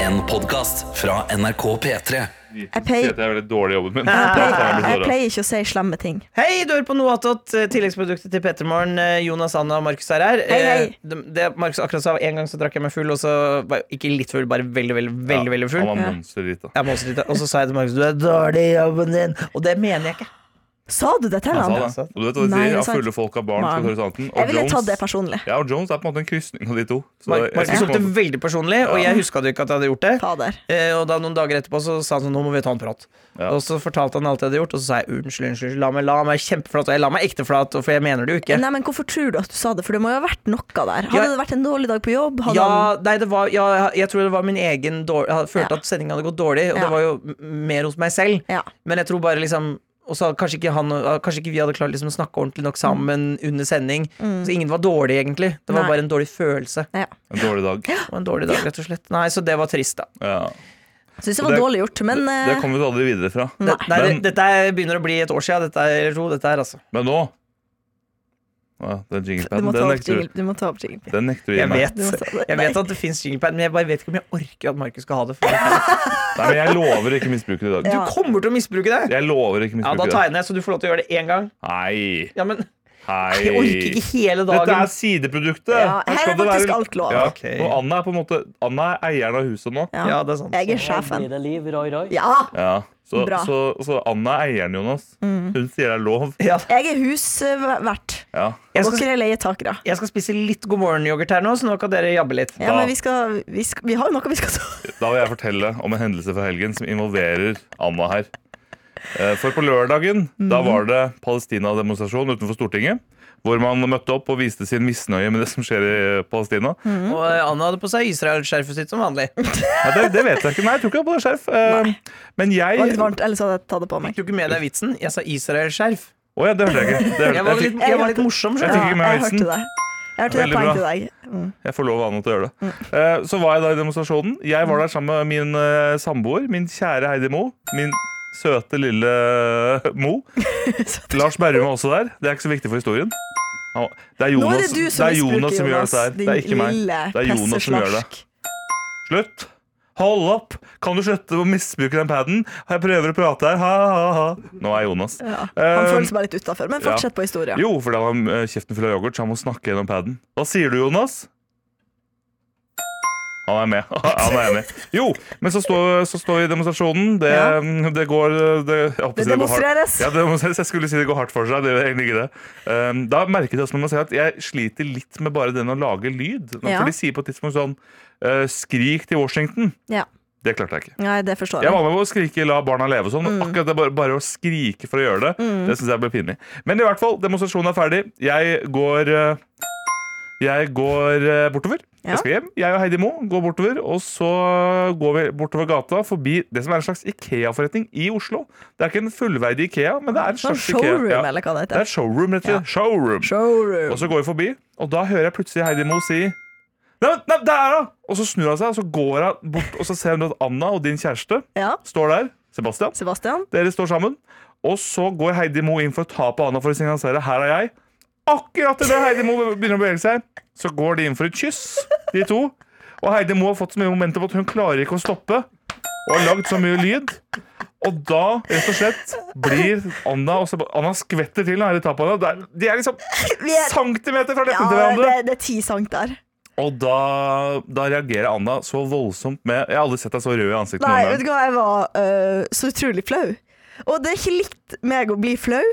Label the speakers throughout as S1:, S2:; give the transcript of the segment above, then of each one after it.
S1: En podcast fra NRK P3
S2: Jeg pleier-
S3: Si at jeg er veldig dårlig i jobben min.
S2: Jeg pleier,
S3: Jeg
S2: jeg
S3: blir såra.
S2: pleier ikke å si slemme ting.
S4: Hei, du hører på noe attåt. eh, Tilleggsproduktet til Petermorgen. Jonas Anna og Markus er her.
S2: Hei, hei.
S4: Eh, Det, det Markus akkurat sa, en gang så drakk jeg meg full, og så var jeg ikke litt full, bare veldig, veldig, veldig, veldig full.
S3: Han var
S2: Ja.
S3: monsterdrita.
S4: Jeg må også litt- Og så sa jeg til Markus du er dårlig i jobben din, og det mener jeg ikke.
S2: Sa du det til
S3: Han
S2: han?
S3: sa det. Og du vet hva de
S2: Nei,
S3: sier?
S2: det er
S3: Ja,
S2: sant.
S3: fulle folk av barn
S2: Barn.
S3: skal ta horisonten.
S2: Jeg
S3: Og
S2: ville tatt
S3: Jones
S2: det personlig.
S3: Ja, og Jones er på en måte en krysning av de to. Så eh,
S4: Mar-
S3: jeg-
S4: Markus
S3: jeg-
S4: tok det veldig personlig, og jeg huska det ikke at jeg hadde gjort det.
S2: Fader.
S4: Eh, Og da noen dager etterpå så sa han sånn, nå må vi ta en prat.
S3: Ja.
S4: Og så fortalte han alt jeg hadde gjort, og så sa jeg unnskyld, unnskyld, la meg, la meg kjempeflat, og jeg la meg ekte flat, og for jeg mener det jo ikke.
S2: Nei, men Hvorfor tror du at du sa det? For det må jo ha vært noe der. Hadde
S4: Ja.
S2: det vært en dårlig dag på jobb? Hadde
S4: Ja, nei, det var, ja, jeg- jeg tror det var min egen dårlig Jeg følte
S2: Ja.
S4: at sendinga hadde gått dårlig, og
S2: Ja.
S4: det var jo m- mer hos meg selv.
S2: han, ja.
S4: Men jeg tror bare liksom og så hadde kanskje ikke, han, og- kanskje ikke vi hadde klart liksom å snakke ordentlig nok sammen under sending.
S2: Mm.
S4: Så ingen var dårlig, egentlig. Det var
S2: Nei.
S4: bare en dårlig følelse.
S2: ja.
S3: En dårlig dag.
S4: Det var en dårlig dag, rett og slett. Nei, Så det var trist, da.
S3: Ja.
S2: Jeg syns det var
S3: Det-
S2: dårlig gjort, men
S3: det, det kommer vi aldri videre fra.
S2: eh, nei.
S4: Det, nei,
S3: Men-
S4: det, dette er- begynner å bli et år sia, dette er, eller to, dette er altså.
S3: Men nå ja, Den
S2: Du
S3: jinglepaden,
S2: må
S3: den
S2: ta opp
S3: nekter
S2: jingle.
S3: du-
S2: Du må ta opp jingle.
S3: den nekter du å gi
S4: Jeg
S3: meg.
S4: vet,
S2: Du må ta det.
S4: jeg vet at det fins jinglepad, men jeg bare vet ikke om jeg orker at Markus skal ha det. For
S3: Nei, men jeg lover å ikke misbruke det i dag.
S2: Ja.
S4: du kommer til å misbruke det!
S3: Jeg lover å ikke
S4: Ja, da
S3: misbruke det.
S4: tegner jeg, så du får lov til å gjøre det én gang.
S3: Hei,
S4: Ja, men Jeg orker
S3: hei.
S4: ikke hele dagen.
S3: Dette er sideproduktet.
S2: Ja,
S3: Her
S2: her
S3: skal
S2: er
S3: det
S2: faktisk
S3: være-
S2: alt lov.
S3: Ja.
S4: Ok.
S3: Og Anna er på en måte Anna er eieren av huset nå.
S2: Ja.
S4: ja, det er sånn sant.
S2: Jeg er
S5: Blir
S2: sjefen.
S5: det liv, roi, roi?
S2: Ja!
S3: Ja. Så,
S2: Bra. Mm.
S3: så, så Anna er eieren, Jonas. Hun sier det er lov.
S4: Ja.
S2: Jeg er husvert.
S3: Ja.
S4: Jeg, skal,
S2: Dere er leietakere.
S4: jeg skal spise litt God morgen-yoghurt her nå, så nå kan dere jabbe litt.
S2: Ja,
S3: Da-
S2: men vi, skal, vi, skal, vi har jo noe vi skal ta.
S3: Da vil jeg fortelle om en hendelse fra helgen som involverer Anna her. Eh, For på lørdagen da
S2: Mm.
S3: var det Palestina-demonstrasjon utenfor Stortinget. Hvor man møtte opp og viste sin misnøye med det som skjer i eh, Palestina.
S2: Mm.
S4: Og eh, Anna hadde på seg Israel-skjerfet sitt som vanlig. Jeg
S3: Ja, det, det vet jeg ikke. Nei, jeg tror ikke det var på det skjerf. Eh, Men
S2: Det var litt
S3: jeg
S2: varmt, ellers hadde jeg tatt det på meg.
S4: tok ikke med deg vitsen. Jeg sa Israel-skjerf.
S3: Å ja, det hørte jeg ikke. Det hørte,
S4: Jeg var
S3: jeg,
S4: litt,
S3: fikk,
S4: jeg var litt morsom.
S3: Jeg
S4: skjønner
S3: fikk ikke med
S2: jeg
S3: avisen.
S2: hørte det. Jeg hørte det
S3: Veldig
S2: poeng
S3: bra.
S2: til deg. Mm.
S3: jeg får lov av Anna til å gjøre det. Eh, Så var jeg da i demonstrasjonen. Jeg var der sammen med min eh, samboer, min kjære Heidi Mo. Min søte lille eh, Mo. Lars Berrum var også der. Det er ikke så viktig for historien. Han- Det er
S2: Nå
S3: Jonas,
S2: er det du som
S3: det er
S2: misbruker,
S3: Jonas som gjør dette her.
S2: Din
S3: Det er ikke meg.
S2: lille
S3: Det er Jonas som gjør det.
S2: presseslarsk.
S3: Slutt! Hold opp! Kan du slutte å misbruke den paden? Jeg prøver å prate her. Ha, ha, ha. Nå er Jonas.
S2: Ja. Han
S3: Eh,
S2: føler seg bare litt utafor. Men
S3: ja.
S2: fortsett på historien.
S3: Jo, fordi han har eh, kjeften full av yoghurt, så han må snakke gjennom paden. Hva sier du, Jonas? Han er med. Han er enig. Jo, men så står, så står vi i demonstrasjonen. Det, mm, det går det, jeg håper å si går
S2: Det
S3: hardt.
S2: demonstreres.
S3: Ja, det demonstreres. Jeg skulle si det går hardt for seg. Det gjør egentlig ikke det. Um, da merket jeg også når man ser at jeg sliter litt med bare den å lage lyd.
S2: Ja.
S3: For de sier på et tidspunkt sånn eh, Skrik til Washington.
S2: Ja.
S3: Det klarte jeg ikke.
S2: Nei, Mm. det forstår
S3: Jeg
S2: jeg.
S3: var med på å skrike 'la barna leve' og sånn. men Akkurat det bare, bare å skrike for å gjøre det,
S2: Mm.
S3: det syns jeg ble pinlig. Men i hvert fall, demonstrasjonen er ferdig. Jeg går eh, Jeg går eh, bortover.
S2: Ja.
S3: Jeg skal hjem. Jeg og Heidi Mo går bortover, og så går vi bortover gata forbi det som er en slags Ikea-forretning i Oslo. Det er ikke en fullverdig Ikea, men det er en
S2: Sånn
S3: slags
S2: showroom,
S3: Ikea. Ja.
S2: eller hva det
S3: Det er
S2: heter.
S3: et showroom, rett og slett. Showroom.
S2: Showroom.
S3: Og så går vi forbi, og da hører jeg plutselig Heidi Mo si Nei, men- nei, der, da! Og så snur hun seg, og så går hun bort, og så ser hun at Anna og din kjæreste
S2: Ja,
S3: står der. Sebastian,
S2: Sebastian.
S3: dere står sammen. Og så går Heidi Mo inn for å ta på Anna for å signalisere 'her er jeg'. Akkurat idet Heidi Mo begynner å bevege seg, så går de inn for et kyss, de to. Og Heidi Mo har fått så mye momentum at hun klarer ikke å stoppe. Og har lagd så mye lyd. Og da, rett og slett, blir Anna og Seb- Anna skvetter til når Heidi tar på henne. Det er- De er liksom
S2: Vi er,
S3: centimeter fra leppene
S2: ja,
S3: til
S2: det,
S3: hverandre.
S2: det er ti sank der.
S3: Og da, da reagerer Anna så voldsomt med Jeg har aldri sett deg så rød i ansiktet
S2: Nei,
S3: noen
S2: vet
S3: gang.
S2: du hva, jeg var øh, så utrolig flau. Og det er ikke likt meg å bli flau,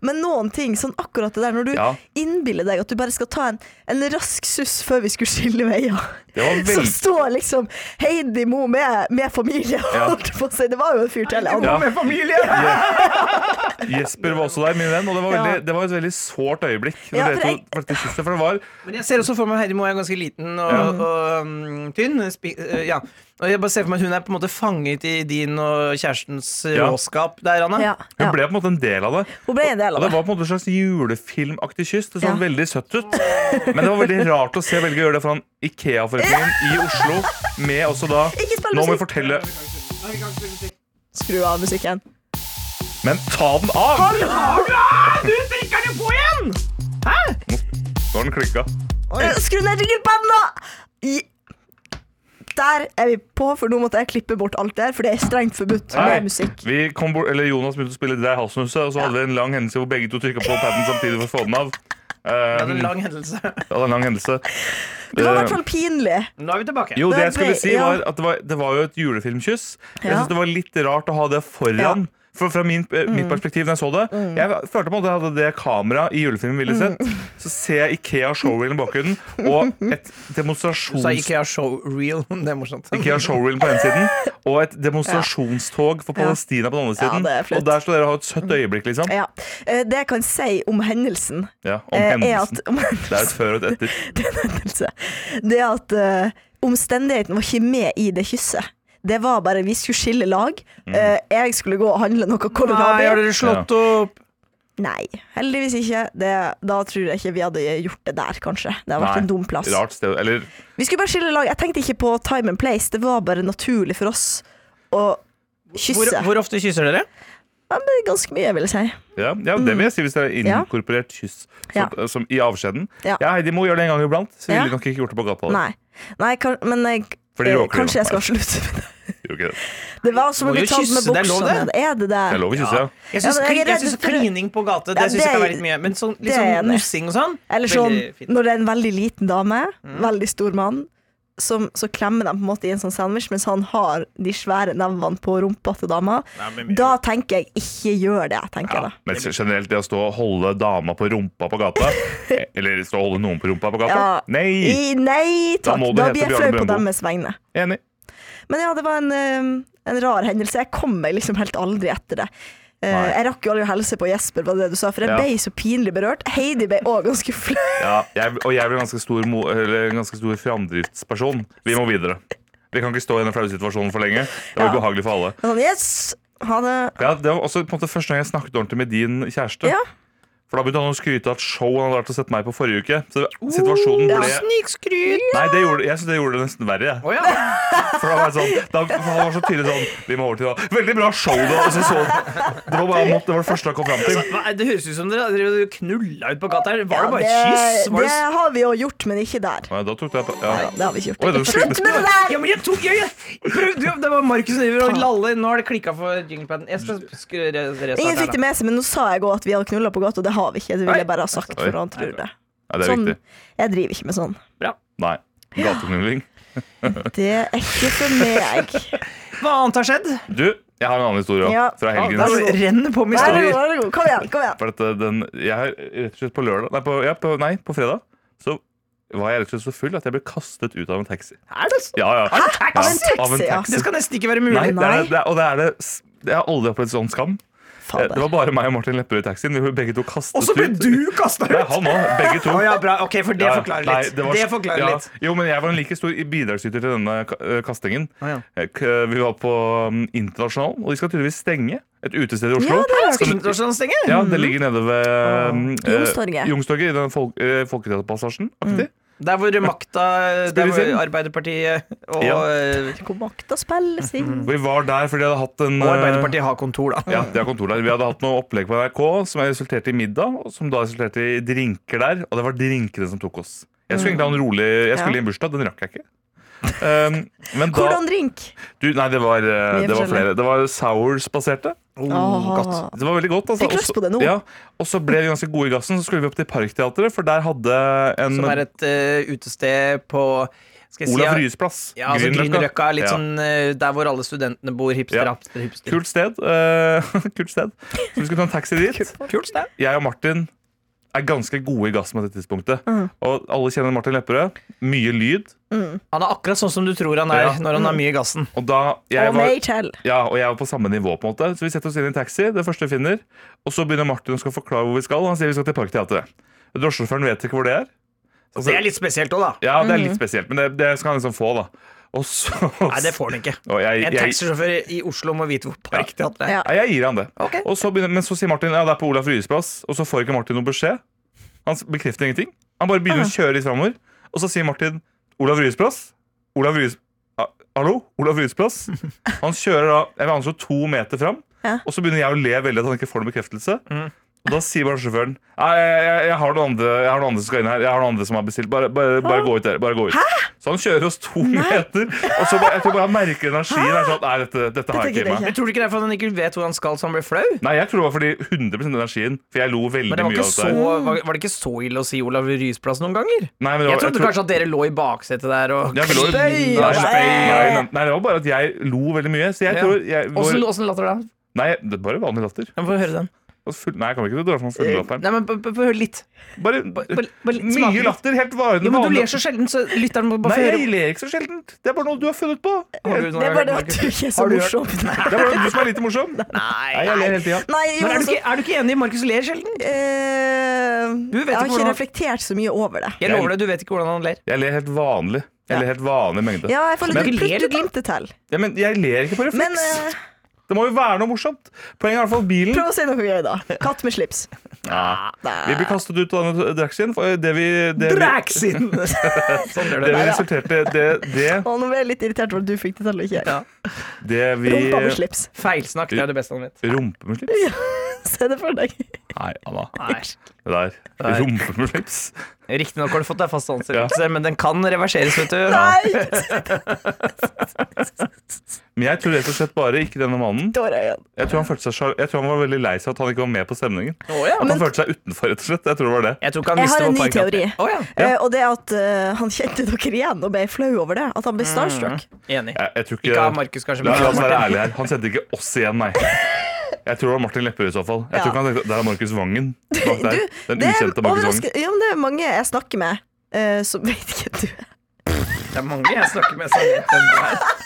S2: men noen ting, sånn akkurat det der når du
S3: Ja.
S2: innbiller deg at du bare skal ta en, en rask suss før vi skulle skille veier,
S3: Det var
S2: så
S3: veldig
S2: står liksom Heidi Mo med, med familie og
S3: Ja.
S2: holdt på å si Det var jo en fyr til. han.
S3: Ja.
S4: Med familie!
S3: Jesper var også der, min venn, og det var, veldig, det var et veldig sårt øyeblikk. når
S2: Ja,
S3: dere
S2: for
S3: to
S2: jeg-
S3: faktisk kysset, for det var
S4: Men jeg ser også for meg Heidi Moe er ganske liten og, og mm, tynn. Spi, eh, ja. Og jeg bare ser for meg at hun er på en måte fanget i din og kjærestens
S3: Ja.
S4: råskap der, Anna.
S2: Ja,
S3: Hun
S2: ja.
S3: ble på en måte en del av det.
S2: Hun ble en del
S3: Og
S2: av
S3: det
S2: det.
S3: var på en måte et slags julefilmaktig kyss. Det så
S2: Ja.
S3: veldig søtt ut. Men det var veldig rart å se velge å gjøre det foran Ikea-forretningen i Oslo med også da
S2: Ikke spill
S3: Nå må vi
S2: musikk!
S3: fortelle
S2: Skru av musikken.
S3: Men ta den av!
S4: Du drikker det på igjen!
S3: Nå har den klikka.
S2: Øh, Skru ned jinglepaden nå! I- der er vi på, for nå måtte jeg klippe bort alt der, for det er strengt forbudt
S3: Nei,
S2: med musikk.
S3: Vi kom bort, eller Jonas begynte å spille det der halsnuset, og så hadde vi en lang hendelse hvor begge to trykka på paden samtidig for å få den av.
S4: Det er en
S3: Eh,
S4: lang hendelse.
S3: det var en lang hendelse.
S2: Det var i
S3: Eh,
S2: hvert fall pinlig.
S4: Nå er vi tilbake.
S3: Jo, det
S2: sånn- Det
S3: jeg skulle
S2: ble-
S3: si
S2: ja.
S3: var at det var, det var jo et julefilmkyss. Jeg
S2: Ja.
S3: synes det var litt rart å ha det foran. For fra min, eh,
S2: Mm.
S3: mitt perspektiv når jeg så det Jeg følte på en måte at jeg hadde det kameraet i julefilmen ville sett.
S2: Mm.
S3: Så ser jeg Ikea showreel i bakgrunnen og et
S4: Du sa
S3: demonstrasjons...
S4: Ikea showreel. Det er morsomt.
S3: Ikea showreel på den siden og et demonstrasjonstog for
S2: Ja.
S3: Palestina på den andre
S2: Ja,
S3: siden.
S2: det er flaut.
S3: og der skal dere ha et søtt øyeblikk, liksom.
S2: Ja. Eh, Det jeg kan si om hendelsen,
S3: Ja, om
S2: eh, er
S3: hendelsen.
S2: at om
S3: Det er et før og et etter.
S2: det er en hendelse. Det er at eh, omstendigheten var ikke med i det kysset. Det var bare vi skulle skille lag.
S3: Mm.
S2: Eh, jeg skulle gå og handle noe
S4: Nei, har
S2: Colorado.
S4: dere slått opp?
S2: Nei, heldigvis ikke. Det, da tror jeg ikke vi hadde gjort det der, kanskje. Det hadde vært
S3: Nei,
S2: en dum plass.
S3: Rart sted. Eller
S2: Vi skulle bare skille lag. Jeg tenkte ikke på time and place. Det var bare naturlig for oss å kysse.
S4: Hvor, hvor ofte kysser dere?
S2: Ja, men Ganske mye, vil jeg si.
S3: Ja, ja det vil jeg si hvis det er
S2: Mm. Ja.
S3: inkorporert kyss som, eh,
S2: Ja.
S3: som, i avskjeden. Ja.
S2: Ja.
S3: Heidi Mo gjør det en gang iblant, så ville
S2: Ja.
S3: du nok ikke gjort det på gata.
S2: Nei. Nei, kan, men jeg,
S3: Fordi råker det
S2: kanskje jeg
S3: nå.
S2: skal slutte med det.
S3: Gjør ikke det.
S2: Det var som å
S4: Må
S2: bli
S4: jo
S2: tatt med
S4: kysse, det er lov,
S2: buksa
S4: det.
S2: ned. Er det det?
S3: Det er lov å kysse, ja.
S4: Jeg syns
S2: Ja, men jeg er
S4: jeg
S2: redd
S4: syns
S2: for-
S4: klining på gate
S2: Ja,
S4: Det syns jeg
S2: det
S4: kan
S2: er-
S4: være litt mye. Men sånn,
S2: det
S4: litt
S2: er jeg
S4: sånn
S2: enig i.
S4: nussing og sånn
S2: Eller sånn,
S4: veldig fint.
S2: når det er en veldig liten dame, veldig stor mann, som, så klemmer de på en måte i en sånn sandwich mens han har de svære nevene på rumpa til dama.
S4: Nei, men-
S2: Da tenker jeg 'ikke gjør det', tenker
S3: Ja,
S2: jeg da.
S3: men generelt det å stå og holde dama på rumpa på gata eh, Eller stå og holde noen på rumpa på gata
S2: Ja.
S3: Nei!
S2: I, nei
S3: Da
S2: takk,
S3: må du
S2: da
S3: hete
S2: blir jeg
S3: Bjarne
S2: flau på
S3: Brøndbo.
S2: deres vegne.
S3: Enig.
S2: Men ja, det var en, eh, en rar hendelse. Jeg kom meg liksom helt aldri etter det. Eh,
S3: Nei.
S2: jeg rakk jo aldri å hilse på Jesper, var det det du sa, for jeg
S3: Ja.
S2: ble så pinlig berørt. Heidi ble òg ganske flau.
S3: Ja, jeg, og jeg blir en ganske stor, mo, eller en ganske stor framdriftsperson. Vi må videre. Vi kan ikke stå i denne flaue situasjonen for lenge. Det var
S2: Ja.
S3: ubehagelig for alle.
S2: Sånn, yes, ha det.
S3: Ja, det var også på en måte første gang jeg snakket ordentlig med din kjæreste.
S2: Ja.
S3: For da begynte han å skryte av et show han hadde vært og sett meg på forrige uke. Så situasjonen
S2: ja.
S3: ble
S4: Snikskryt!
S3: Nei, det gjorde, jeg synes det gjorde det nesten verre. jeg.
S4: Å ja.
S3: For han var, sånn, da, for han var så tydelig sånn Vi må over til da. Veldig bra show, da! Og så så, det, var bare, det var det første han kom fram til.
S4: Hva, det høres ut som dere dere knulla ut på gata her. Var det bare
S2: Ja,
S4: et kyss? Var
S2: det
S4: det... s-
S2: har vi jo gjort, men ikke der.
S3: Nei, da tok jeg på ja.
S2: Nei, det har vi ikke gjort.
S3: Oi, det var
S2: Slutt med det der!
S4: Ja, men jeg tok jeg, jeg prøvde jo! Det var Markus som driver og lalle. Nå har det klikka for jinglepaden. Jeg skal sk- re- restarte
S2: Ingen
S4: her
S2: fikk det
S4: nå.
S2: med seg, men nå sa jeg òg at vi hadde knulla på gata, og det har vi ikke. Det ville jeg bare ha sagt
S3: Oi.
S2: for han tror det.
S3: Nei, det er
S2: Sånn,
S3: viktig.
S2: jeg driver ikke med sånn.
S4: Bra.
S3: Nei. Gateknulling.
S2: Det er ikke for meg.
S4: Hva annet har skjedd?
S3: Du, jeg har en annen historie
S2: Ja.
S3: fra helgen.
S2: Ja, der-
S4: Det renner på med
S2: Vær så god,
S4: historier.
S2: vær så god. Kom igjen. kom igjen
S3: For at eh, den, jeg har rett og slett på lørdag Nei, på, ja, på, nei, på fredag Så var jeg rett og slett så full at jeg ble kastet ut av en taxi
S4: Er det så?
S3: Ja, ja
S4: Er det
S2: Av
S4: taxi?
S2: en taxi, ja.
S4: Det skal nesten ikke være mulig.
S3: Nei, det er,
S2: Nei.
S3: det er, og det er det s- Jeg har aldri opplevd sånn skam Eh, Det
S2: Fader.
S3: var bare meg og Martin Lepperød i taxien Vi ble begge to kastet ut
S4: Og så ble du kasta
S3: Nei,
S4: ut!
S3: han også, begge to
S4: Å ja, bra. Ok, for det
S3: Ja,
S4: forklarer
S3: nei,
S4: litt.
S3: det var-
S4: det forklarer
S3: ja.
S4: litt.
S3: Jo, men jeg var en like stor bidragsyter til denne ka- eh, kastingen
S4: Å ja.
S3: Eh, k- Vi var på um, Internasjonal Og de skal tydeligvis stenge Et utested i Oslo
S2: Ja, det
S4: Skal internasjonalen stenge?
S3: Ja, det ligger nede ved um, eh,
S2: Youngstorget.
S3: Youngstorget, i den folk, eh, Folketeaterpassasjen. aktig.
S4: Der hvor makta Der
S3: vi
S4: hvor
S3: se?
S4: Arbeiderpartiet og,
S3: Ja.
S4: eh,
S2: Hvor makta spilles
S4: Mm.
S2: inn.
S3: Vi var der fordi jeg hadde hatt en
S4: og
S3: eh,
S4: Arbeiderpartiet har kontor, da.
S3: Ja, de har kontor der. Vi hadde hatt noe opplegg på NRK som resulterte i middag, og som da resulterte i drinker der. Og det var drinkene som tok oss. Jeg skulle egentlig ha en rolig Jeg skulle i en bursdag, den rakk jeg ikke. Um, men da
S2: Hvordan drink?
S3: du, Nei, det var, eh,
S2: Mye
S3: det var
S2: forskjellig.
S3: flere. Det var sours-baserte.
S4: Oh,
S2: Åh.
S4: godt.
S3: Det var veldig godt. Altså.
S2: Fikk lyst
S3: Også-
S2: på det nå.
S3: Ja, og så ble vi ganske gode i gassen, så skulle vi opp til Parkteatret, for der hadde en
S4: Som er et eh, utested på skal jeg si,
S3: Olav
S4: ja,
S3: Ryes plass.
S4: Ja, altså Grünerløkka. Litt
S3: Ja.
S4: sånn eh, der hvor alle studentene bor. Hipster,
S3: Ja.
S4: hipster, hipster.
S3: Kult sted. eh, kult sted. Så vi skulle ta en taxi dit.
S4: Kult sted.
S3: Jeg og Martin er ganske gode i gassen på dette tidspunktet. Og alle kjenner Martin Lepperød. Mye lyd.
S4: Han er akkurat sånn som du tror han er
S3: Ja.
S4: når han har mye i gassen.
S3: Og da jeg
S2: Og
S3: var,
S2: meg til.
S3: ja, og jeg var på samme nivå, på en måte. Så vi setter oss inn i en taxi, det første vi finner. Og så begynner Martin å skal forklare hvor vi skal. Han sier vi skal til Parkteatret. Drosjesjåføren vet ikke hvor det er. Så-
S4: Det er litt spesielt òg, da.
S3: ja, det er litt spesielt, men det, det skal han liksom få, da. Og så
S4: Nei, det får han ikke.
S3: og jeg,
S4: En
S3: jeg,
S4: taxisjåfør i Oslo må vite hvor Parkteatret er.
S2: Ja.
S3: Nei, jeg gir han det. Og så begynner, men så sier Martin ja, det er på Olaf Ryes plass, og så får ikke Martin noen beskjed. Han s- bekrefter ingenting. Han bare
S2: Ah.
S3: begynner å kjøre litt framover, og så sier Martin Olav Ryes plass. Olav Ryes Ah, Hallo? Olav Ryes plass. Han kjører da jeg vil anslå to meter fram,
S2: Ja.
S3: og så begynner jeg å le veldig at han ikke får noen bekreftelse. Og da sier bare sjåføren Nei, jeg, jeg, jeg, har noen andre, jeg har noen andre som skal inn her. Jeg har noen andre som har bestilt. Bare, bare, bare gå ut, dere. Bare gå ut. Så han kjører oss to meter, og så bare, jeg tror bare han merker energien. Er sånn, Nei, dette, dette har jeg ikke
S2: gidder
S3: i meg.
S2: jeg
S4: Men tror du ikke det er fordi han ikke vet hvor han skal, så han blir flau?
S3: Nei, jeg tror det var fordi 100 energien. For jeg lo veldig
S4: Men det var,
S3: mye
S4: ikke
S3: av
S4: så,
S3: dette. her.
S4: var, var det ikke så ille å si Olav Ryes plass noen ganger?
S3: Nei, men det var-
S4: Jeg trodde
S3: tror-
S4: kanskje at dere lå i baksetet der og
S3: Jeg lo- nei,
S4: Spøy,
S3: nei,
S4: spøy.
S3: nei, nei, nei, det var bare at jeg lo veldig mye. Så jeg
S4: Ja.
S3: tror jeg, vår,
S4: Åssen åssen latter da?
S3: Nei, det er bare vanlig latter.
S4: Jeg må få høre den.
S3: Og Full, nei, jeg kan ikke dra fram full latteren.
S4: Eh, Nei, men b- b- Få høre litt.
S3: Bare,
S4: bare- bare litt
S3: mye
S4: smakelig.
S3: latter. Helt vanlig.
S4: Jo, men Du
S3: vanlig-
S4: ler så sjelden, så lytteren må
S3: Nei,
S4: bare få høre.
S3: jeg ler ikke så sjeldent. Det er bare noe du har funnet på. Det
S4: Har
S3: er
S4: du noen
S2: Det er bare det
S4: gang-
S2: at du ikke er så
S4: Har du hørt-
S2: morsom. Nei.
S3: bare du som er lite morsom. Nei, jeg ler hele tida.
S2: Nei, jo,
S4: Men er du,
S2: altså,
S4: ikke, er du ikke enig? Markus ler sjelden.
S2: eh,
S4: Du vet
S2: jeg
S4: ikke
S2: har ikke
S4: hvordan-
S2: reflektert så mye over det.
S4: Jeg lover deg, du vet ikke hvordan han ler.
S3: Jeg ler helt vanlig. Jeg ler helt vanlig mengde.
S2: Ja, jeg får
S4: Men-
S2: litt
S4: Ler du da?
S2: plutt-glimtet til.
S3: Ja, men jeg ler ikke på
S2: Men
S3: refleks.
S2: eh,
S3: Det må jo være noe morsomt. Poenget er i hvert fall bilen.
S2: prøv å si noe gøy, da. Katt med slips.
S3: Ja. Vi
S2: Nei.
S3: blir kastet ut av denne Draxien. for eh, Det vi, det vi,
S4: Draxin! sånn gjør
S3: det
S4: det.
S3: vi resulterte det, det,
S2: Å, nå ble jeg litt irritert over at du fikk det til og ikke jeg.
S3: det vi
S2: Rumpa med slips.
S4: Feilsnakk det er det beste han vet.
S3: Rumpe med slips?
S2: Se det for deg.
S3: Nei, Anna.
S4: Nei.
S3: Det der.
S4: Nei.
S3: Rumpe med slips?
S4: Riktignok har du fått deg fast ansettelse, men den kan reverseres, vet du.
S2: Nei!
S3: Men jeg tror rett og slett bare ikke denne mannen.
S2: Tårer i øynene.
S3: Jeg tror han, følte seg, sjal- jeg tror han var veldig lei seg at han ikke var med på stemningen. At
S4: Å, ja.
S3: han
S2: Men-
S3: følte seg utenfor, rett og slett. Jeg tror det var det.
S4: Jeg tror ikke han
S2: Jeg
S4: visste
S2: har en
S4: hvor
S2: ny
S4: parken-
S2: teori.
S4: Å, ja.
S2: Eh, og det at eh, han kjente dere igjen og ble flau over det. At han
S3: Mm.
S2: ble starstruck.
S4: Enig.
S3: Jeg, jeg tror ikke,
S4: Ikke av Markus, kanskje.
S3: La,
S4: men
S3: la oss være
S4: Martin.
S3: ærlige her. Han sendte ikke oss igjen, nei. Jeg tror det var Martin Lepperød i så fall. Jeg
S2: Ja.
S3: tror ikke han tenkte, Der er Markus Vangen. Bak der.
S2: Du,
S3: Den
S2: det er
S3: ukjente Markus Vangen.
S2: overraskende- ja, men det er mange jeg snakker med, eh, som vet ikke at du er.
S4: Det er mange jeg snakker med som vet hvem det er.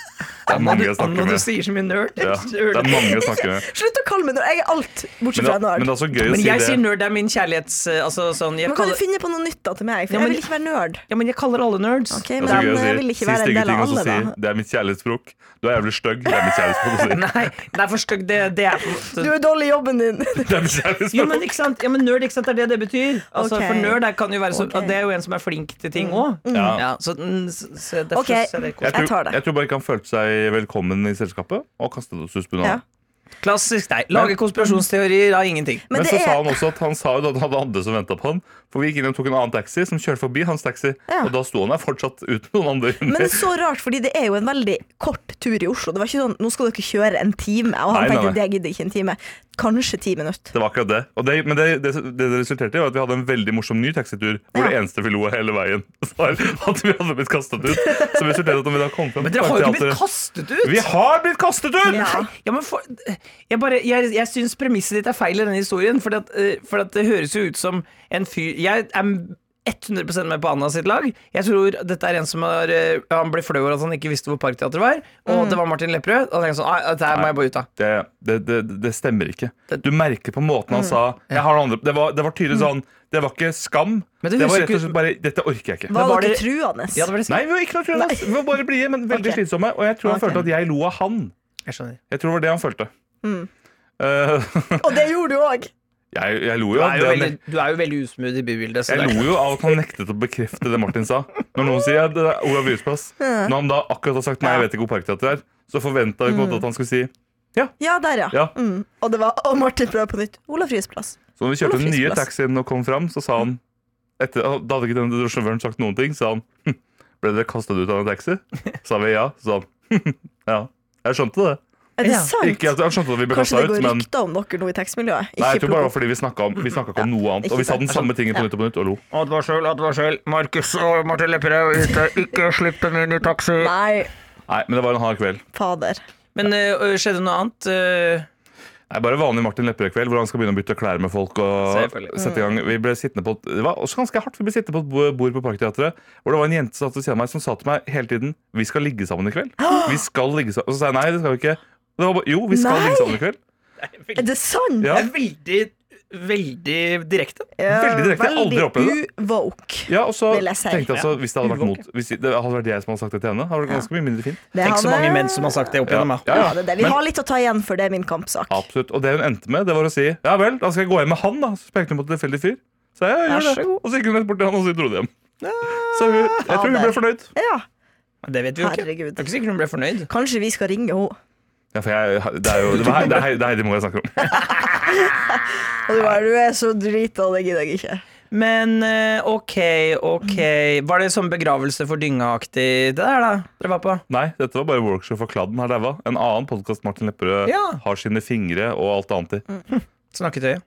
S3: Det er mange jeg
S4: Anna,
S3: snakker
S4: du
S3: med.
S4: sier så mye nerd.
S3: Ja, det er mange jeg snakker med.
S2: Slutt å kalle meg når jeg er alt, bortsett
S3: Men det,
S2: fra nerd.
S3: men det er
S2: Men,
S3: også gøy å
S4: Men
S3: si
S4: jeg sier
S3: det.
S4: nerd det er min kjærlighets... Altså, sånn, jeg
S2: kan
S4: kaller,
S2: du finne på noe nytt da til meg? For
S4: Ja, men-
S2: jeg vil ikke være nerd.
S4: ja, men jeg kaller alle nerds.
S2: Ok,
S3: Det er
S2: men
S3: så gøy å
S2: jeg vil
S3: si,
S2: ikke
S3: si
S2: være en
S3: stygge
S2: del
S3: ting
S2: av
S3: og så
S2: alle,
S3: si
S2: da.
S3: det er mitt kjærlighetsspråk. Du er jævlig stygg. Det er mitt kjærlighetsspråk. å si.
S4: Nei, det er for stygt. Det, det er på en måte
S2: Du er dårlig i jobben din.
S3: Det er mitt
S4: Jo,
S3: kjærlighetsspråk.
S4: men, ikke sant? Ja, men nerd, ikke sant, det er det det betyr. Altså,
S2: Ok.
S4: For nerd er, kan jo være så,
S2: Ok. Mm.
S4: det er jo en som er flink til ting òg.
S3: Ja.
S4: Ja, så, mm, så, så derfor
S2: Ok.
S4: så er det
S3: Jeg
S4: koselig.
S2: Jeg tar
S3: tror,
S2: det.
S3: jeg tror bare ikke han følte seg velkommen i selskapet, og kastet oss ut på
S2: Ja.
S3: bunaden.
S4: Klassisk deg. Lage konspirasjonsteorier av ingenting.
S2: Men
S3: Men,
S2: det
S3: så sa
S2: er-
S3: han også at han sa jo at han hadde andre som venta på han. For vi gikk inn og tok en annen taxi som kjørte forbi hans taxi.
S2: Ja.
S3: Og da sto han der fortsatt uten noen andre.
S2: Men det
S3: inni.
S2: er så rart, fordi det er jo en veldig kort tur i Oslo. Det var ikke sånn, nå skal dere kjøre en time. Og han
S3: Nei, nei,
S2: tenkte
S3: nei.
S2: det gidder ikke en time. Kanskje ti minutter.
S3: Det var akkurat det. Og det men det, det, det det resulterte i, var at vi hadde en veldig morsom ny taxitur hvor
S2: Ja.
S3: det eneste vi lo av hele veien, var at vi hadde blitt kastet ut. Som resulterte i at vi da kom fram
S4: Men dere har jo ikke
S3: teateret-
S4: blitt kastet ut!
S3: Vi har blitt kastet ut!
S2: Ja.
S4: Ja, men for, jeg bare, jeg, jeg syns premisset ditt er feil i denne historien. For, at, eh, for at det høres jo ut som en fyr Jeg er 100 med på Anna sitt lag. Jeg tror dette er en som har, eh, Han ble flau over at han ikke visste hvor Parkteatret var, og det var Martin Lepperød. Og han tenkte sånn Nei, dette her må jeg bare ut av.
S3: Det, det, det, det stemmer ikke. Du merker på måten
S4: Mm.
S3: han sa jeg har noen andre. Det, var, det var tydelig sånn Det var ikke skam.
S4: Men
S3: Det,
S4: det
S3: var
S4: husker
S3: rett og
S4: ikke-
S3: slett bare Dette orker jeg ikke.
S2: Var,
S4: var
S2: dere
S4: det-
S2: truende?
S4: Ja, det var det
S3: Nei, vi var ikke noe truende. ass. Vi var bare blide, men veldig
S2: Ok.
S3: slitsomme. Og jeg tror han
S2: Ok.
S3: følte at jeg lo av han.
S4: Jeg skjønner.
S3: Jeg tror det var det han følte.
S4: Mm.
S3: Eh,
S2: Og det gjorde du òg!
S3: jeg, jeg lo
S4: Du
S3: jo av
S4: er jo
S3: det han
S4: veldig, sånn.
S3: nek-
S4: du er jo veldig usmooth i bybildet. Så
S3: jeg
S4: det,
S3: lo jo av at han nektet å bekrefte det Martin sa. Når noen sier at det er Olav Ryes plass, når han da akkurat har sagt nei, jeg vet ikke hvor Parkteatret er, så forventa vi på en
S4: Mm.
S3: måte at han skulle si
S2: Ja, der, ja.
S3: ja.
S2: Mm. Og det var Og Martin prøver på nytt. Olav Ryes plass.
S3: Så når vi kjørte
S2: Olav
S3: den
S2: Ryes
S3: nye
S2: plass.
S3: taxien og kom fram, så sa han etter, Da hadde ikke den drosjevøren sagt noen ting, sa han «Hm, Ble dere kastet ut av en taxi? Sa vi ja. Så sa han «Hm, ja. Jeg skjønte det.
S2: Er det
S4: Ja.
S2: sant?
S3: Ikke at han skjønte at vi ble
S2: Kanskje
S3: kasta
S2: det
S3: ut,
S2: går
S3: men
S2: rykter om dere nå i tekstmiljøet?
S3: Nei, jeg tror bare
S2: Ikke
S3: det
S2: plukk
S3: var fordi vi snakka om, vi snakket ikke om noe annet.
S2: ikke
S3: Og vi sa den
S2: sant.
S3: samme tingen på nytt og på nytt og lo.
S5: Advarsel, advarsel. Markus og Martin Lepperød ute. Ikke slipp dem inn i taxi.
S2: opp. Nei,
S3: Nei, men det var en hard kveld.
S2: fader.
S4: men eh, skjedde noe annet? eh,
S3: Nei, bare vanlig Martin Lepperød-kveld, hvor han skal begynne å bytte klær med folk. og
S4: Selvfølgelig.
S3: sette i gang. Vi ble sittende på, et- det var også ganske hardt. Vi ble sittende på et bo- bord på Parkteatret, hvor det var en jente som satt ved siden av meg som sa til meg hele tiden 'Vi skal ligge sammen i kveld'. Vi skal ligge sammen. Og så sa jeg nei, det skal vi ikke. Og Det var bare, jo, vi skal
S2: Nei!
S3: ligge sammen i kveld.
S2: Er det sant?
S3: Ja,
S4: Det er veldig,
S3: veldig
S4: veldig direkte.
S3: direkte. Jeg har aldri opplevd det.
S2: Uvoke.
S3: Ja, og så
S2: vil jeg si.
S3: tenkte jeg altså, hvis det hadde vært
S4: Uvåken.
S3: mot Hvis det hadde vært jeg som hadde sagt det til henne, hadde det vært ganske mye mindre fint.
S2: Det
S4: Tenk så
S2: hadde-
S4: mange menn som har sagt det opp gjennom. Ja.
S2: Ja, det er det. Vi
S3: Men-
S2: har litt å ta igjen for det er min kampsak.
S3: Absolutt. Og det hun endte med, det var å si Ja vel, da skal jeg gå hjem med han, da. Så pekte hun på et tilfeldig fyr. Så jeg, ja,
S2: Vær
S3: gjør
S2: så
S3: det.
S2: god. Ah,
S3: Og så gikk hun rett bort til han, og så dro de hjem. Så hun, jeg tror hun ble fornøyd.
S2: Ja,
S4: Det vet vi jo ikke.
S2: Herregud.
S4: Det er ikke sikkert hun ble fornøyd.
S2: Kanskje vi skal ringe henne.
S3: Ja, for jeg, det er jo det, er, det, er, det er Heidi Moe jeg snakker om.
S2: Og du bare, du er så drita, det gidder jeg ikke.
S4: Men eh, ok, ok. Var det sånn begravelse for dynga-aktig det der, da? Dere var på?
S3: Nei, dette var bare workshop for kladden har daua. En annen podkast Martin Lepperød
S4: Ja. Mm.
S3: har sine fingre og alt annet i.
S4: Snakketøyet?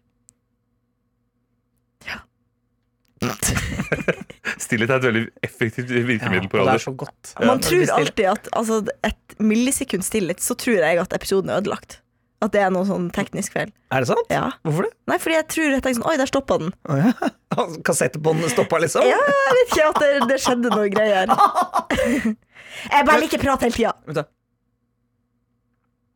S3: Stillhet er et veldig effektivt virkemiddel på
S4: og det
S3: radio.
S4: er så godt.
S2: Man tror
S4: Stille.
S2: alltid at altså, et millisekund stillhet, så tror jeg at episoden er ødelagt. At det er noe sånn teknisk feil.
S4: Er det sant?
S2: Ja.
S4: Hvorfor det?
S2: Nei, fordi jeg tror jeg tenker sånn Oi, der stoppa den.
S4: Oh, ja. Altså, Kassettbåndene stoppa, liksom?
S2: Ja, jeg vet ikke at det, det skjedde noe greier. Jeg bare liker prat hele tida.
S4: Vent da.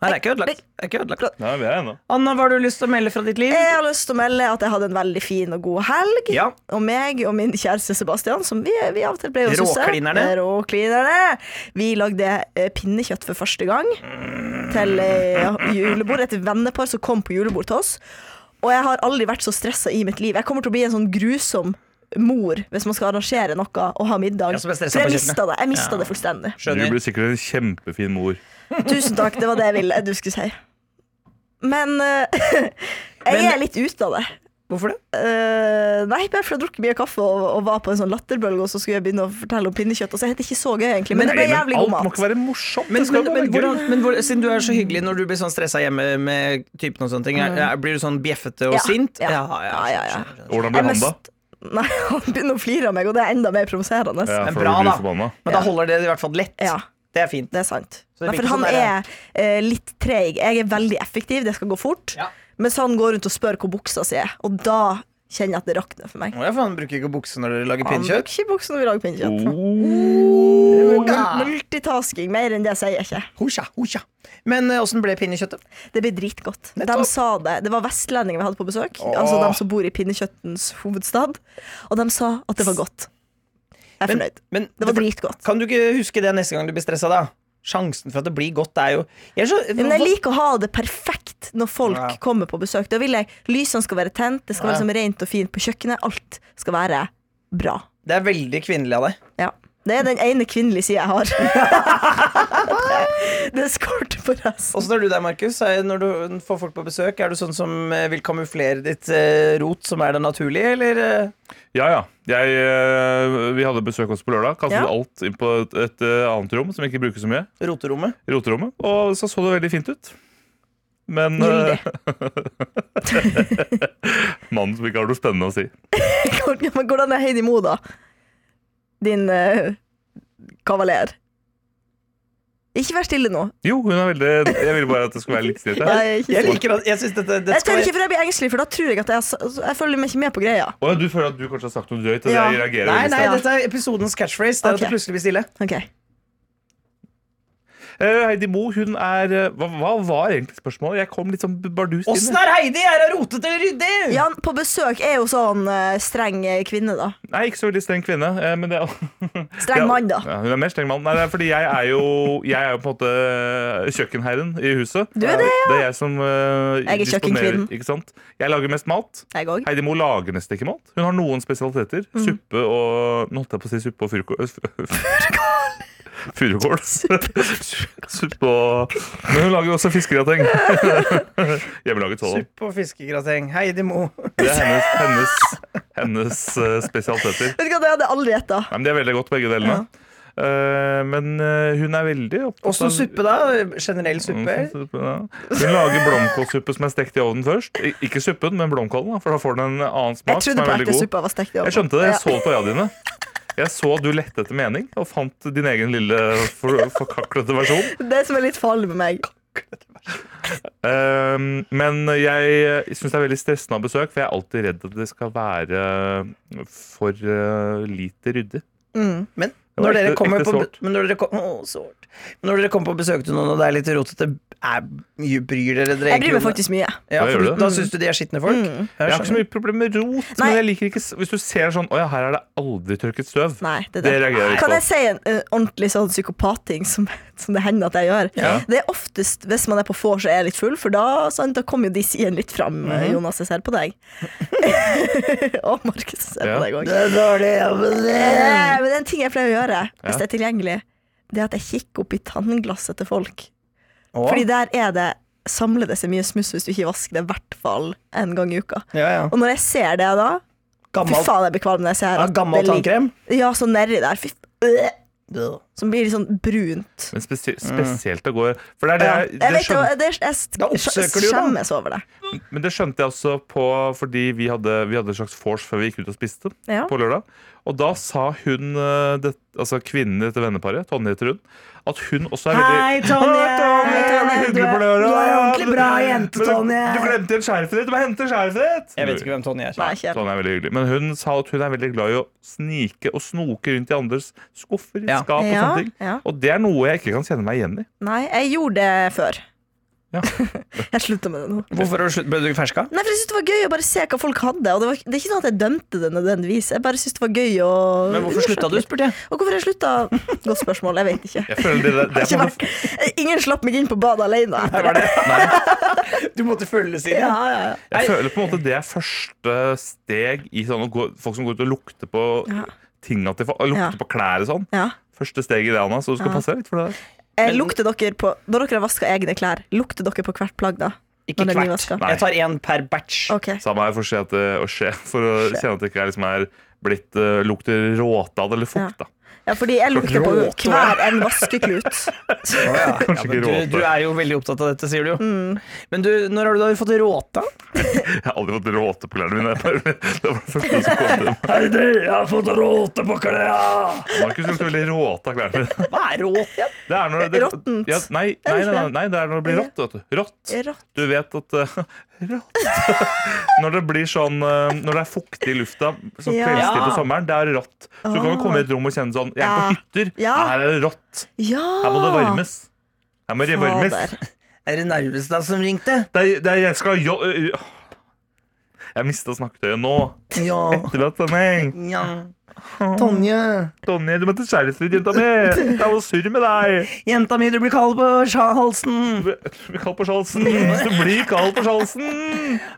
S4: Nei, det er ikke ødelagt. Det er ikke ødelagt.
S3: Nei, vi er ennå.
S4: Anna, hva har du lyst til å melde fra ditt liv?
S2: Jeg har lyst til å melde at jeg hadde en veldig fin og god helg.
S4: Ja.
S2: Og meg og min kjæreste Sebastian, som vi, vi av og til ble å susse
S4: Råklinerne.
S2: Råklinerne. Vi lagde eh, pinnekjøtt for første gang til eh, julebord. Et vennepar som kom på julebord til oss. Og jeg har aldri vært så stressa i mitt liv. Jeg kommer til å bli en sånn grusom mor hvis man skal arrangere noe og ha middag.
S4: Ja, som er stresset
S2: For
S4: på
S2: jeg
S4: kjøkkenet.
S2: mista det. Jeg mistet
S4: Ja.
S2: det fullstendig.
S3: Du
S4: Skjønner.
S3: blir sikkert en kjempefin mor.
S2: Tusen takk, det var det jeg ville du skulle si. Men eh, jeg
S4: Men-
S2: er litt ute av det.
S4: Hvorfor det?
S2: Eh, nei, bare for jeg drukket mye kaffe og, og var på en sånn latterbølge, og så skulle jeg begynne å fortelle om pinnekjøtt. Og så het det ikke så gøy, egentlig, men,
S4: Men-
S2: det ble
S3: Nei, men
S2: jævlig god
S3: alt må
S2: mat.
S3: ikke være morsomt.
S4: Men,
S3: det skal
S4: men,
S3: jo
S4: men,
S3: være gøy.
S4: hvordan, men hvor, siden du er så hyggelig når du blir sånn stressa hjemme med typen og sånne ting, er, er, blir du sånn bjeffete og
S2: Ja,
S4: sint?
S2: ja. Ja, ja, ja.
S4: skjønner, skjønner, skjønner.
S3: Hvordan
S2: Jeg
S3: blir han da?
S2: mest- Nei, han begynner å flire av meg, og det er enda mer provoserende.
S3: Ja,
S2: Ja.
S4: Men
S3: for
S4: bra,
S3: du blir
S4: da.
S3: forbanna.
S4: Men da holder det i hvert fall lett. Det er fint.
S2: det er sant.
S4: Så det
S2: Nei,
S4: blir
S2: for
S4: ikke
S2: han
S4: sånn
S2: er eh, litt treig. Jeg er veldig effektiv, det skal gå fort.
S4: Ja.
S2: Mens han går rundt og spør hvor buksa si er, og da kjenner jeg at det rakner for meg.
S4: Å ja, for han bruker ikke bukse når dere lager
S2: Han bruker
S4: pinnkjøtt?
S2: ikke buksa når vi lager pinnekjøtt.
S3: Oh.
S2: Multitasking, mer enn det sier jeg ikke.
S4: Hosja, hosja. Men eh, åssen ble pinnekjøttet?
S2: Det ble dritgodt. De
S4: Nettopp.
S2: sa det. Det var vestlendinger vi hadde på besøk. Altså de som bor i pinnekjøttens hovedstad. Og de sa at det var godt. Jeg er
S4: Men-
S2: fornøyd.
S4: men-
S2: det var dritgodt.
S4: Kan du ikke huske det neste gang du blir stressa, da? Sjansen for at det blir godt, er jo jeg er så,
S2: Men jeg liker å ha det perfekt når folk
S4: Ja.
S2: kommer på besøk. Da vil jeg Lysene skal være tent, det skal være
S4: Ja.
S2: liksom rent og fint på kjøkkenet. Alt skal være bra.
S4: Det er veldig kvinnelig av deg.
S2: Ja. Det er den ene kvinnelige sida jeg har. det skorter på resten.
S4: Åssen er du der, Markus? Er- Når du får folk på besøk, er du sånn som eh, vil kamuflere ditt eh, rot, som er det naturlige, eller? eh?
S3: Ja, ja. Jeg, eh, vi hadde besøk også på lørdag. Kastet
S2: Ja.
S3: alt inn på et, et eh, annet rom som jeg ikke bruker så mye.
S4: Roterommet.
S3: Roterommet. Og så så det veldig fint ut. Men eh,
S2: Gyldig.
S3: mannen som ikke har noe spennende å si.
S2: Men Hvordan er Heidi Mo, da? Din eh, kavaler. Ikke vær stille nå.
S3: Jo, hun er veldig Jeg ville bare at det skulle være litt stillhet her.
S2: Jeg,
S4: Jeg
S2: jeg,
S4: liker at Jeg synes dette det
S2: jeg
S4: skal
S2: tør
S4: være-
S2: ikke, for jeg blir engstelig, for da tror jeg at jeg, har s- altså, jeg følger meg ikke med på greia.
S3: Å ja, du føler at du kanskje har sagt noe drøyt? Og
S2: Ja.
S3: jeg reagerer
S4: Nei,
S3: veldig
S4: nei,
S2: Ja.
S4: dette er episodens catchphrase. Det er at
S2: Ok.
S4: det plutselig blir stille.
S2: Ok.
S3: sterkt. Eh, Heidi Mo, hun er eh, hva, hva var egentlig spørsmålet? Jeg kom litt sånn bardust
S4: Åssen
S3: inn.
S4: er Heidi? Er hun rotete eller ryddig?
S2: Jan på besøk er jo sånn eh, streng eh, kvinne, da.
S3: Nei, ikke så veldig streng kvinne. eh, Men det Ja.
S2: Streng mann, da.
S3: Ja, hun er mer streng mann. Nei, det er fordi jeg er jo Jeg er jo på en måte eh, kjøkkenherren i huset.
S2: Du er det,
S3: Det er jeg som eh,
S2: Jeg er
S3: disponerer,
S2: kjøkkenkvinnen.
S3: Ikke sant? Jeg lager mest mat.
S2: Jeg òg.
S3: Heidi Mo lager nesten ikke mat. Hun har noen spesialiteter. Suppe og Nå holdt jeg på å si suppe og furukål. øh, Furukål. suppe og Men hun lager også fiskegrateng. Hjemmelaget sånn.
S4: Suppe og fiskegrateng. Heidi Mo.
S3: Det er hennes, hennes, hennes eh, spesialiteter.
S2: Vet du hva, det hadde jeg aldri gjetta.
S3: Nei, men De er veldig godt, begge delene. Eh, men eh, hun er veldig opptatt
S4: Åssen suppe, da? Generell
S3: Mm,
S4: suppe?
S3: Suppe, ja. Hun lager blomkålsuppe som er stekt i ovnen først. I- Ikke suppen, men blomkålen, da, for da får den en annen smak.
S2: Jeg
S3: som
S2: trodde
S3: er
S2: på
S3: veldig god.
S2: ertesuppa var stekt i
S3: Jeg skjønte det. Jeg
S2: Ja.
S3: så på øya dine. Jeg så at du lette etter mening, og fant din egen lille for- forkaklete versjon.
S2: Det som er litt farlig med meg.
S3: Ehm, men jeg syns det er veldig stressende å ha besøk, for jeg er alltid redd at det skal være for eh, lite ryddig.
S4: Men
S3: var
S4: når dere
S3: ekte-
S4: kommer
S3: ekte
S4: på
S3: sårt.
S4: men når dere, kom, å, sårt. Men når dere kommer på besøk til noen, og det er litt rotete, er, mye bryr dere dere
S2: Jeg bryr meg
S4: om det?
S2: faktisk mye.
S4: Ja,
S3: Ja,
S4: for
S3: gjør
S4: du,
S3: du det?
S4: da syns du de er skitne folk?
S3: Jeg
S4: Jeg
S3: har ikke så
S4: skjønner.
S3: mye problem med rot,
S2: Nei.
S3: men jeg liker ikke s- hvis du ser sånn Å ja, her er det aldri tørket støv.
S2: Nei, det, er
S3: Det reagerer jeg ikke
S2: Kan
S3: på.
S2: jeg si en, en ordentlig sånn psykopatting som, som det hender at jeg gjør?
S3: Ja.
S2: Det er oftest hvis man er på vors og er litt full, for da, sant, da kommer jo de sidene litt fram. eh, Jonas, jeg ser på deg. og Markus, jeg ser
S3: Ja.
S2: på deg òg.
S4: Det er dårlig, ja, men det-
S2: Men det er en ting jeg pleier å gjøre
S3: Ja.
S2: hvis det er tilgjengelig, det er at jeg kikker opp i tannglasset til folk.
S4: Å,
S2: Fordi der er det samler det seg mye smuss hvis du ikke vasker det i hvert fall en gang i uka.
S4: Ja, ja.
S2: Og når jeg ser det da Fy
S4: Gammel,
S2: faen, jeg blir kvalm når jeg ser
S4: ja,
S2: at
S4: gammel
S2: det ligger-
S4: tannkrem.
S2: Ja, så nedi der. Fy f- øh, Som blir litt sånn brunt.
S3: Men spesie- spesielt å gå For det er det,
S2: Ja.
S3: jeg- det
S2: Jeg, vet, jo,
S3: skjøn-
S2: det, jeg, sk-
S4: Da oppsøker du jo da.
S2: skjemmes over det.
S3: Men det skjønte jeg også på fordi vi hadde, vi hadde et slags vors før vi gikk ut og spiste
S2: Ja.
S3: på lørdag. Og da sa hun, eh, det, altså kvinnen i dette venneparet, Tonje heter hun, at hun også er
S4: Hei,
S3: veldig
S4: Tonje!
S3: Hei, Tonje!
S4: Hei, Tonje!
S3: veldig hyggelig
S4: Du er-
S3: på lørdag!
S4: du er ordentlig bra
S3: Ja,
S4: jente,
S3: men du-
S4: Tonje!
S3: Du glemte igjen skjerfet ditt! Du må hente skjerfet ditt!
S4: Jeg vet ikke hvem Tonje er.
S2: Nei, ikke helt.
S3: Tonje er veldig hyggelig. Men hun sa at hun er veldig glad i å snike og snoke rundt i andres skuffer,
S4: Ja.
S3: skap og
S2: Ja,
S3: sånne ting.
S2: ja.
S3: Og det er noe jeg ikke kan kjenne meg igjen i.
S2: Nei, jeg gjorde det før.
S3: Ja.
S2: jeg slutta med det nå.
S4: Hvorfor har du slutt- ble du ferska?
S2: Nei, for Jeg syntes det var gøy å bare se hva folk hadde. Og det, var, det er ikke sånn at jeg dømte det nødvendigvis. Jeg bare syntes det var gøy å
S4: Men hvorfor slutta du, spurte jeg.
S2: Og hvorfor jeg slutta? Godt spørsmål. Jeg vet ikke.
S3: Jeg føler det, det, det
S2: Jeg
S3: er på
S2: har
S3: en
S2: ikke
S3: måte-
S2: vært, ingen slapp meg inn på badet alene etter det.
S4: Du måtte følge siden.
S2: Ja, ja, ja.
S3: Jeg føler på en måte det er første steg i sånn å gå, folk som går ut og lukter på
S2: Ja.
S3: tinga til folk. og Lukter
S2: Ja.
S3: på klær og sånn.
S2: Ja.
S3: Første steg i det, Anna, så du skal
S2: Ja.
S3: passe deg litt for det. der.
S2: Eh, lukter dere på, når dere har vaska egne klær, lukter dere på hvert plagg da? Når
S4: Ikke
S2: det blir
S4: hvert.
S2: vasket.
S4: Jeg tar én per batch.
S2: Ok.
S3: Samme her for å se at det å skje, for å
S2: Skje.
S3: kjenne at det ikke er, liksom er blitt eh, lukter råtad eller fukt. da
S2: Ja, fordi jeg lukter på
S4: Råte.
S2: hver en vaskeklut.
S3: Kanskje
S4: men
S3: ikke råte.
S4: du, du er jo veldig opptatt av dette, sier du jo. Men du, når har du da fått råta?
S3: Jeg har aldri fått råte på klærne mine. Det var det første som kom til meg.
S4: Heidi, jeg har fått råte på klærne!
S3: Markus lukter veldig råte av klærne mine.
S4: Hva er råt igjen?
S3: Det er når det,
S2: Råttent.
S3: Ja, nei, nei, nei, nei, nei, det er når det blir rått. vet du. Rått.
S2: Rått.
S3: Du vet at eh, Rått. Når det blir sånn eh, Når det er fuktig i lufta, som
S2: Ja.
S3: kveldstid på sommeren, det er rått. Så du kan jo
S2: Ah.
S3: komme i et rom og kjenne sånn Jeg er på hytter.
S2: Ja.
S3: Her er det rått.
S2: Ja!
S3: Her må det varmes. Her må det varmes.
S2: Fader.
S4: Er det Narvestad som ringte?
S3: Det er, det er, jeg skal jo... ø- ø- Jeg mista snakketøyet nå.
S4: Ja.
S3: Etterlatt sending.
S4: ja. Tonje,
S3: Tonje, du må til skjæresten din, jenta mi. Jeg var surr med deg.
S4: jenta mi, du blir kald på sja- halsen.
S3: Du blir kald på sjalsen. Du blir kald på sjalsen.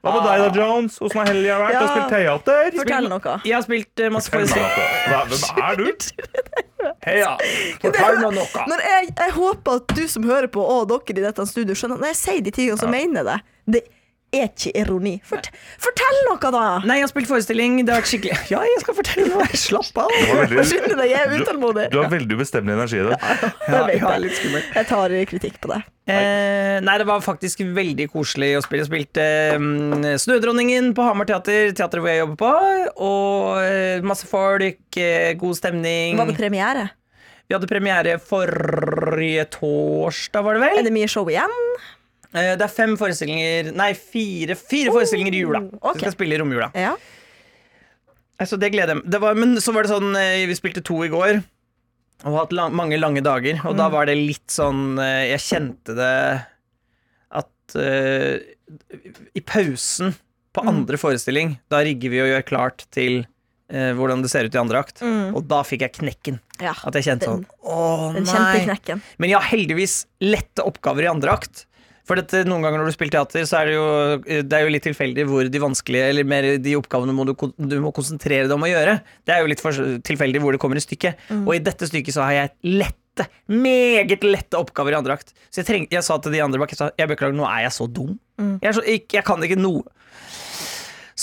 S3: Hva med deg da, Jones? Åssen har helga vært? Du har spilt teater?
S2: Fortell noe.
S4: Jeg har spilt eh, masse forestillinger.
S3: Hva- Hvem er du?
S4: Heia,
S2: fortell
S4: meg noe.
S2: Når jeg, jeg håper at du som hører på, og dere i dette studio, skjønner at når jeg sier de tingene, så mener jeg det. Det er ikke ironi. Fort, fortell noe, da!
S4: Nei, jeg har spilt forestilling. Det har vært skikkelig Ja, jeg skal fortelle noe. Slapp av.
S2: Forskynd deg, jeg er utålmodig.
S3: Du har veldig ubestemmelig energi i dag.
S2: Det vet
S4: Ja, ja,
S2: jeg.
S4: litt skummelt.
S2: Jeg tar kritikk på det.
S4: Eh, nei, det var faktisk veldig koselig å spille. Jeg spilte eh, Snødronningen på Hamar teater, teatret hvor jeg jobber på, og eh, masse folk, eh, god stemning.
S2: Var det premiere?
S4: Vi hadde premiere forrige torsdag, var det vel?
S2: Er det mye show igjen?
S4: Eh, det er fem forestillinger Nei, fire, fire forestillinger i jula.
S2: Oh, ok.
S4: Vi skal spille i romjula.
S2: Ja.
S4: Altså, det gleder jeg meg det var, Men så var det sånn eh, Vi spilte to i går Og har hatt lang, mange lange dager Og
S2: Mm.
S4: da var det litt sånn eh, Jeg kjente det At eh, I pausen
S2: Mm.
S4: På andre forestilling Da rigger vi og gjør klart til eh, Hvordan det ser ut i andre akt Og da fikk jeg knekken
S2: ja.
S4: At jeg kjente sånn
S2: Mm. Den,
S4: Åh
S2: den kjente
S4: nei
S2: knekken.
S4: Men jeg har heldigvis lette oppgaver i andre akt for dette, noen ganger når du spiller teater, så er det jo, eh, det er jo litt tilfeldig hvor de vanskelige, eller mer de oppgavene må du, kon- du må konsentrere deg om å gjøre. Det er jo litt for, tilfeldig hvor det kommer i stykket. Og i dette stykket så har jeg lette, meget lette oppgaver i andre akt. Så jeg, treng, jeg sa til de andre bak, jeg sa, jeg beklager, nå er jeg så dum. Jeg, er så, jeg, jeg kan ikke noe. Mm.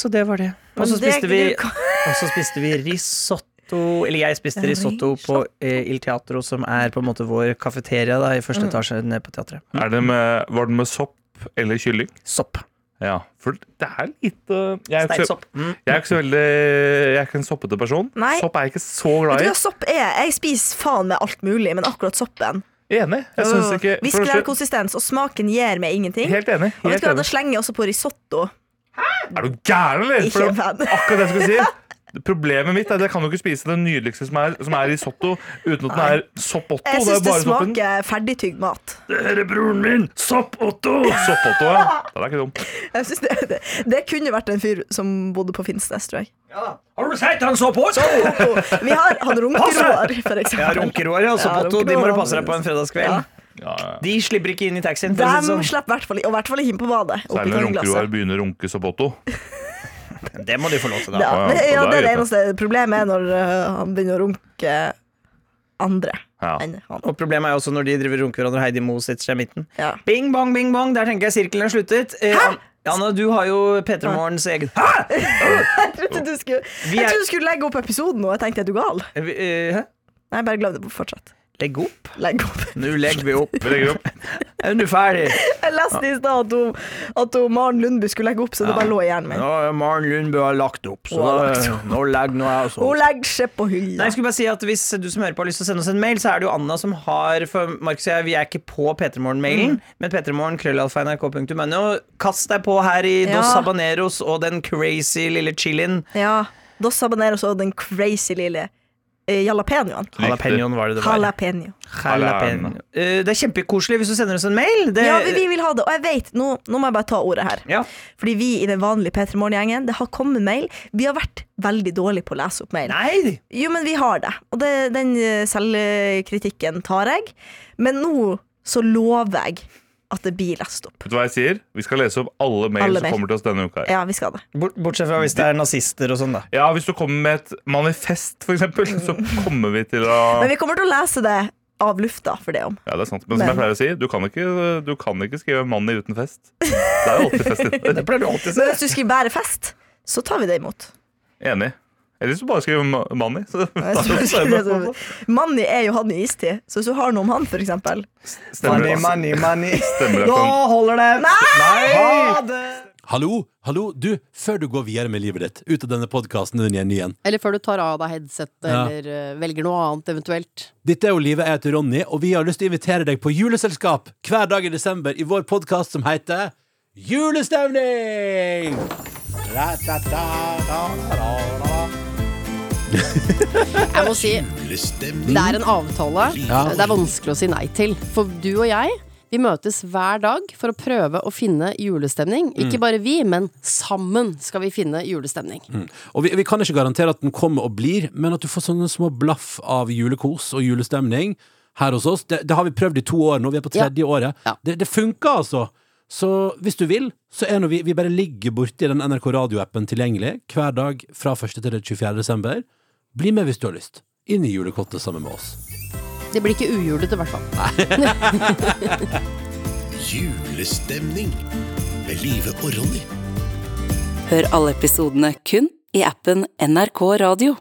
S4: Så det var det. Og
S2: Men
S4: så
S2: det-
S4: spiste vi,
S2: du kan-
S4: og så spiste vi risotto, eller jeg spiste risotto på eh, Il Teatro, som er på en måte vår kafeteria da, i første etasje nede på teatret. Mm.
S3: Er det med, var det med sopp eller kylling?
S4: Sopp.
S3: Ja, for det er litt uh, jeg, er ikke
S4: Sterk
S3: så,
S4: sopp. Mm.
S3: jeg er ikke så veldig Jeg er ikke en soppete person.
S2: Nei.
S3: Sopp er jeg ikke så glad
S2: Vet du
S3: i.
S2: hva sopp er? Jeg spiser faen meg alt mulig, men akkurat soppen
S3: Enig. Jeg syns ikke for det
S2: Viskelær
S3: første-
S2: konsistens, og smaken gir meg ingenting.
S3: Helt enig.
S2: og vet
S3: Helt
S2: du hva, Da
S3: enig.
S2: slenger jeg også på risotto.
S3: Er du gæren, eller?
S2: Ikke
S3: For det var
S2: fan.
S3: akkurat det jeg skulle si. Problemet mitt er at jeg kan jo ikke spise det nydeligste som er, som er risotto, uten at den er sopp otto. det
S2: Jeg syns
S3: er
S2: det
S3: bare soppen.
S2: smaker ferdigtygd mat.
S3: Her er broren min! Sopp otto! Sopp otto, ja. Den er ikke dum.
S2: Jeg synes det, det, det kunne vært en fyr som bodde på Finnsnes, tror jeg.
S4: Har du sett han så på? Så!
S2: Vi har han Runke-Roar, for eksempel.
S4: Ja, runkeråret og soppotto, de må du passe deg på en
S2: Ja.
S4: fredagskveld.
S3: Ja, ja.
S4: De slipper ikke inn i taxien. For å si
S2: De
S4: det, sånn.
S2: slapp i hvert fall i- og i hvert fall ikke inn på badet. opp i
S3: Særlig når
S2: tårnglasset.
S3: runkeroar begynner å runke sopp otto.
S4: sånn. det må de få lov til, da.
S2: Ja,
S3: Ja,
S2: men,
S3: ja,
S2: ja,
S3: og da
S2: det er eh, det
S3: er
S2: eneste problemet er når øh, han begynner å runke andre.
S3: Ja.
S2: enn han.
S4: Og problemet er jo også når de driver og runker hverandre, og Heidi Moe setter seg i midten.
S2: Ja.
S4: Bing bong, bing bong, der tenker jeg sirkelen er sluttet. Eh, An- Anna, du har jo P3 Morgens egen Hæ?!
S2: Jeg trodde du skulle, jeg
S4: er-
S2: trodde du skulle legge opp episoden, og jeg tenkte er du gal?
S4: Eh, vi- eh, hæ?
S2: Nei, bare glem det. Fortsett.
S4: Legg opp.
S2: Legg opp.
S4: Nå legger vi opp.
S3: Vi legger opp.
S4: Er du ferdig?
S2: Jeg leste i stad at, hun- at hun Maren Lundby skulle legge opp, så det bare lå i hjernen min.
S4: Nå er Maren Lundbø har lagt opp, så
S2: Hun har lagt
S4: da- nå legger nå sånn. jeg også
S2: Hun
S4: opp.
S2: legger seg på
S4: Nei,
S2: hylla.
S4: jeg skulle bare si at Hvis du som hører på har lyst til å sende oss en mail, så er det jo Anna som har For Markus og jeg vi er ikke på P3morgen-mailen, men p3morgen.krøllalfa.nrk.no. Kast deg på her i
S2: Ja.
S4: Dos Habaneros og den crazy lille chilien.
S2: Ja. Dos Habaneros og den crazy lille eh, jalapeñoen.
S4: Jalapeñoen var det det var.
S2: Jalapeño.
S4: Jalapeño. Eh, Det er kjempekoselig hvis du sender oss en mail. Det,
S2: Ja, vi, vi vil ha det. Og jeg vet, nå, nå må jeg bare ta ordet her.
S4: Ja.
S2: Fordi vi i den vanlige P3 Morgen-gjengen, det har kommet mail. Vi har vært veldig dårlige på å lese opp mail.
S4: Nei!
S2: Jo, men vi har det. Og det, den eh, selvkritikken tar jeg. Men nå så lover jeg at det blir lest opp.
S3: Vet du hva jeg sier? Vi skal lese opp alle mail
S2: Alle
S3: som
S2: mail.
S3: kommer til oss denne uka. her.
S2: Ja, vi skal det.
S4: Bort- Bortsett fra hvis det er nazister og sånn, da.
S3: Ja, Hvis du kommer med et manifest, for eksempel, så kommer vi til å
S2: Men vi kommer til å lese det av lufta, for det om.
S3: Ja, det er sant. Men som jeg pleier å si, du kan ikke, du kan ikke skrive 'Manni uten fest'. Det er jo alltid fest inni der.
S4: pleier du alltid å
S2: Hvis du skriver 'bære fest', så tar vi det imot.
S3: Enig. Eller hvis du bare skriver ma- 'Manni'. så-
S2: Jeg tror ikke det er så- Manni er jo han i istid, så hvis du har noe om han, for eksempel
S3: Stemmer det.
S4: money, money.
S3: Stemmer det,
S4: Nå
S3: Tom.
S4: holder det! Nei! Ha det!
S6: Hallo, hallo, du, før du går videre med livet ditt, ut av denne podkasten din igjen, igjen.
S7: Eller før du tar av deg headsetet
S6: Ja.
S7: eller eh, velger noe annet eventuelt.
S6: Dette er jo Livet, jeg heter Ronny, og vi har lyst til å invitere deg på juleselskap hver dag i desember i vår podkast som heter Julestemning!
S7: Jeg må si,
S6: Julestemning?
S7: det er en avtale
S6: Ja.
S7: det er vanskelig å si nei til. For du og jeg, vi møtes hver dag for å prøve å finne julestemning. Ikke bare vi, men sammen skal vi finne julestemning.
S6: Og vi, vi kan ikke garantere at den kommer og blir, men at du får sånne små blaff av julekos og julestemning her hos oss. Det, det har vi prøvd i to år nå, vi er på tredje året.
S7: Ja.
S6: Det, det funker altså! Så hvis du vil, så er nå vi, vi bare ligger borti den NRK radioappen tilgjengelig hver dag fra 1. til den 24. desember. Bli med hvis du har lyst. Inn i julekottet sammen med oss.
S7: Det blir ikke ujulete, i hvert fall.
S8: Julestemning med Live og Ronny.
S9: Hør alle episodene kun i appen NRK Radio.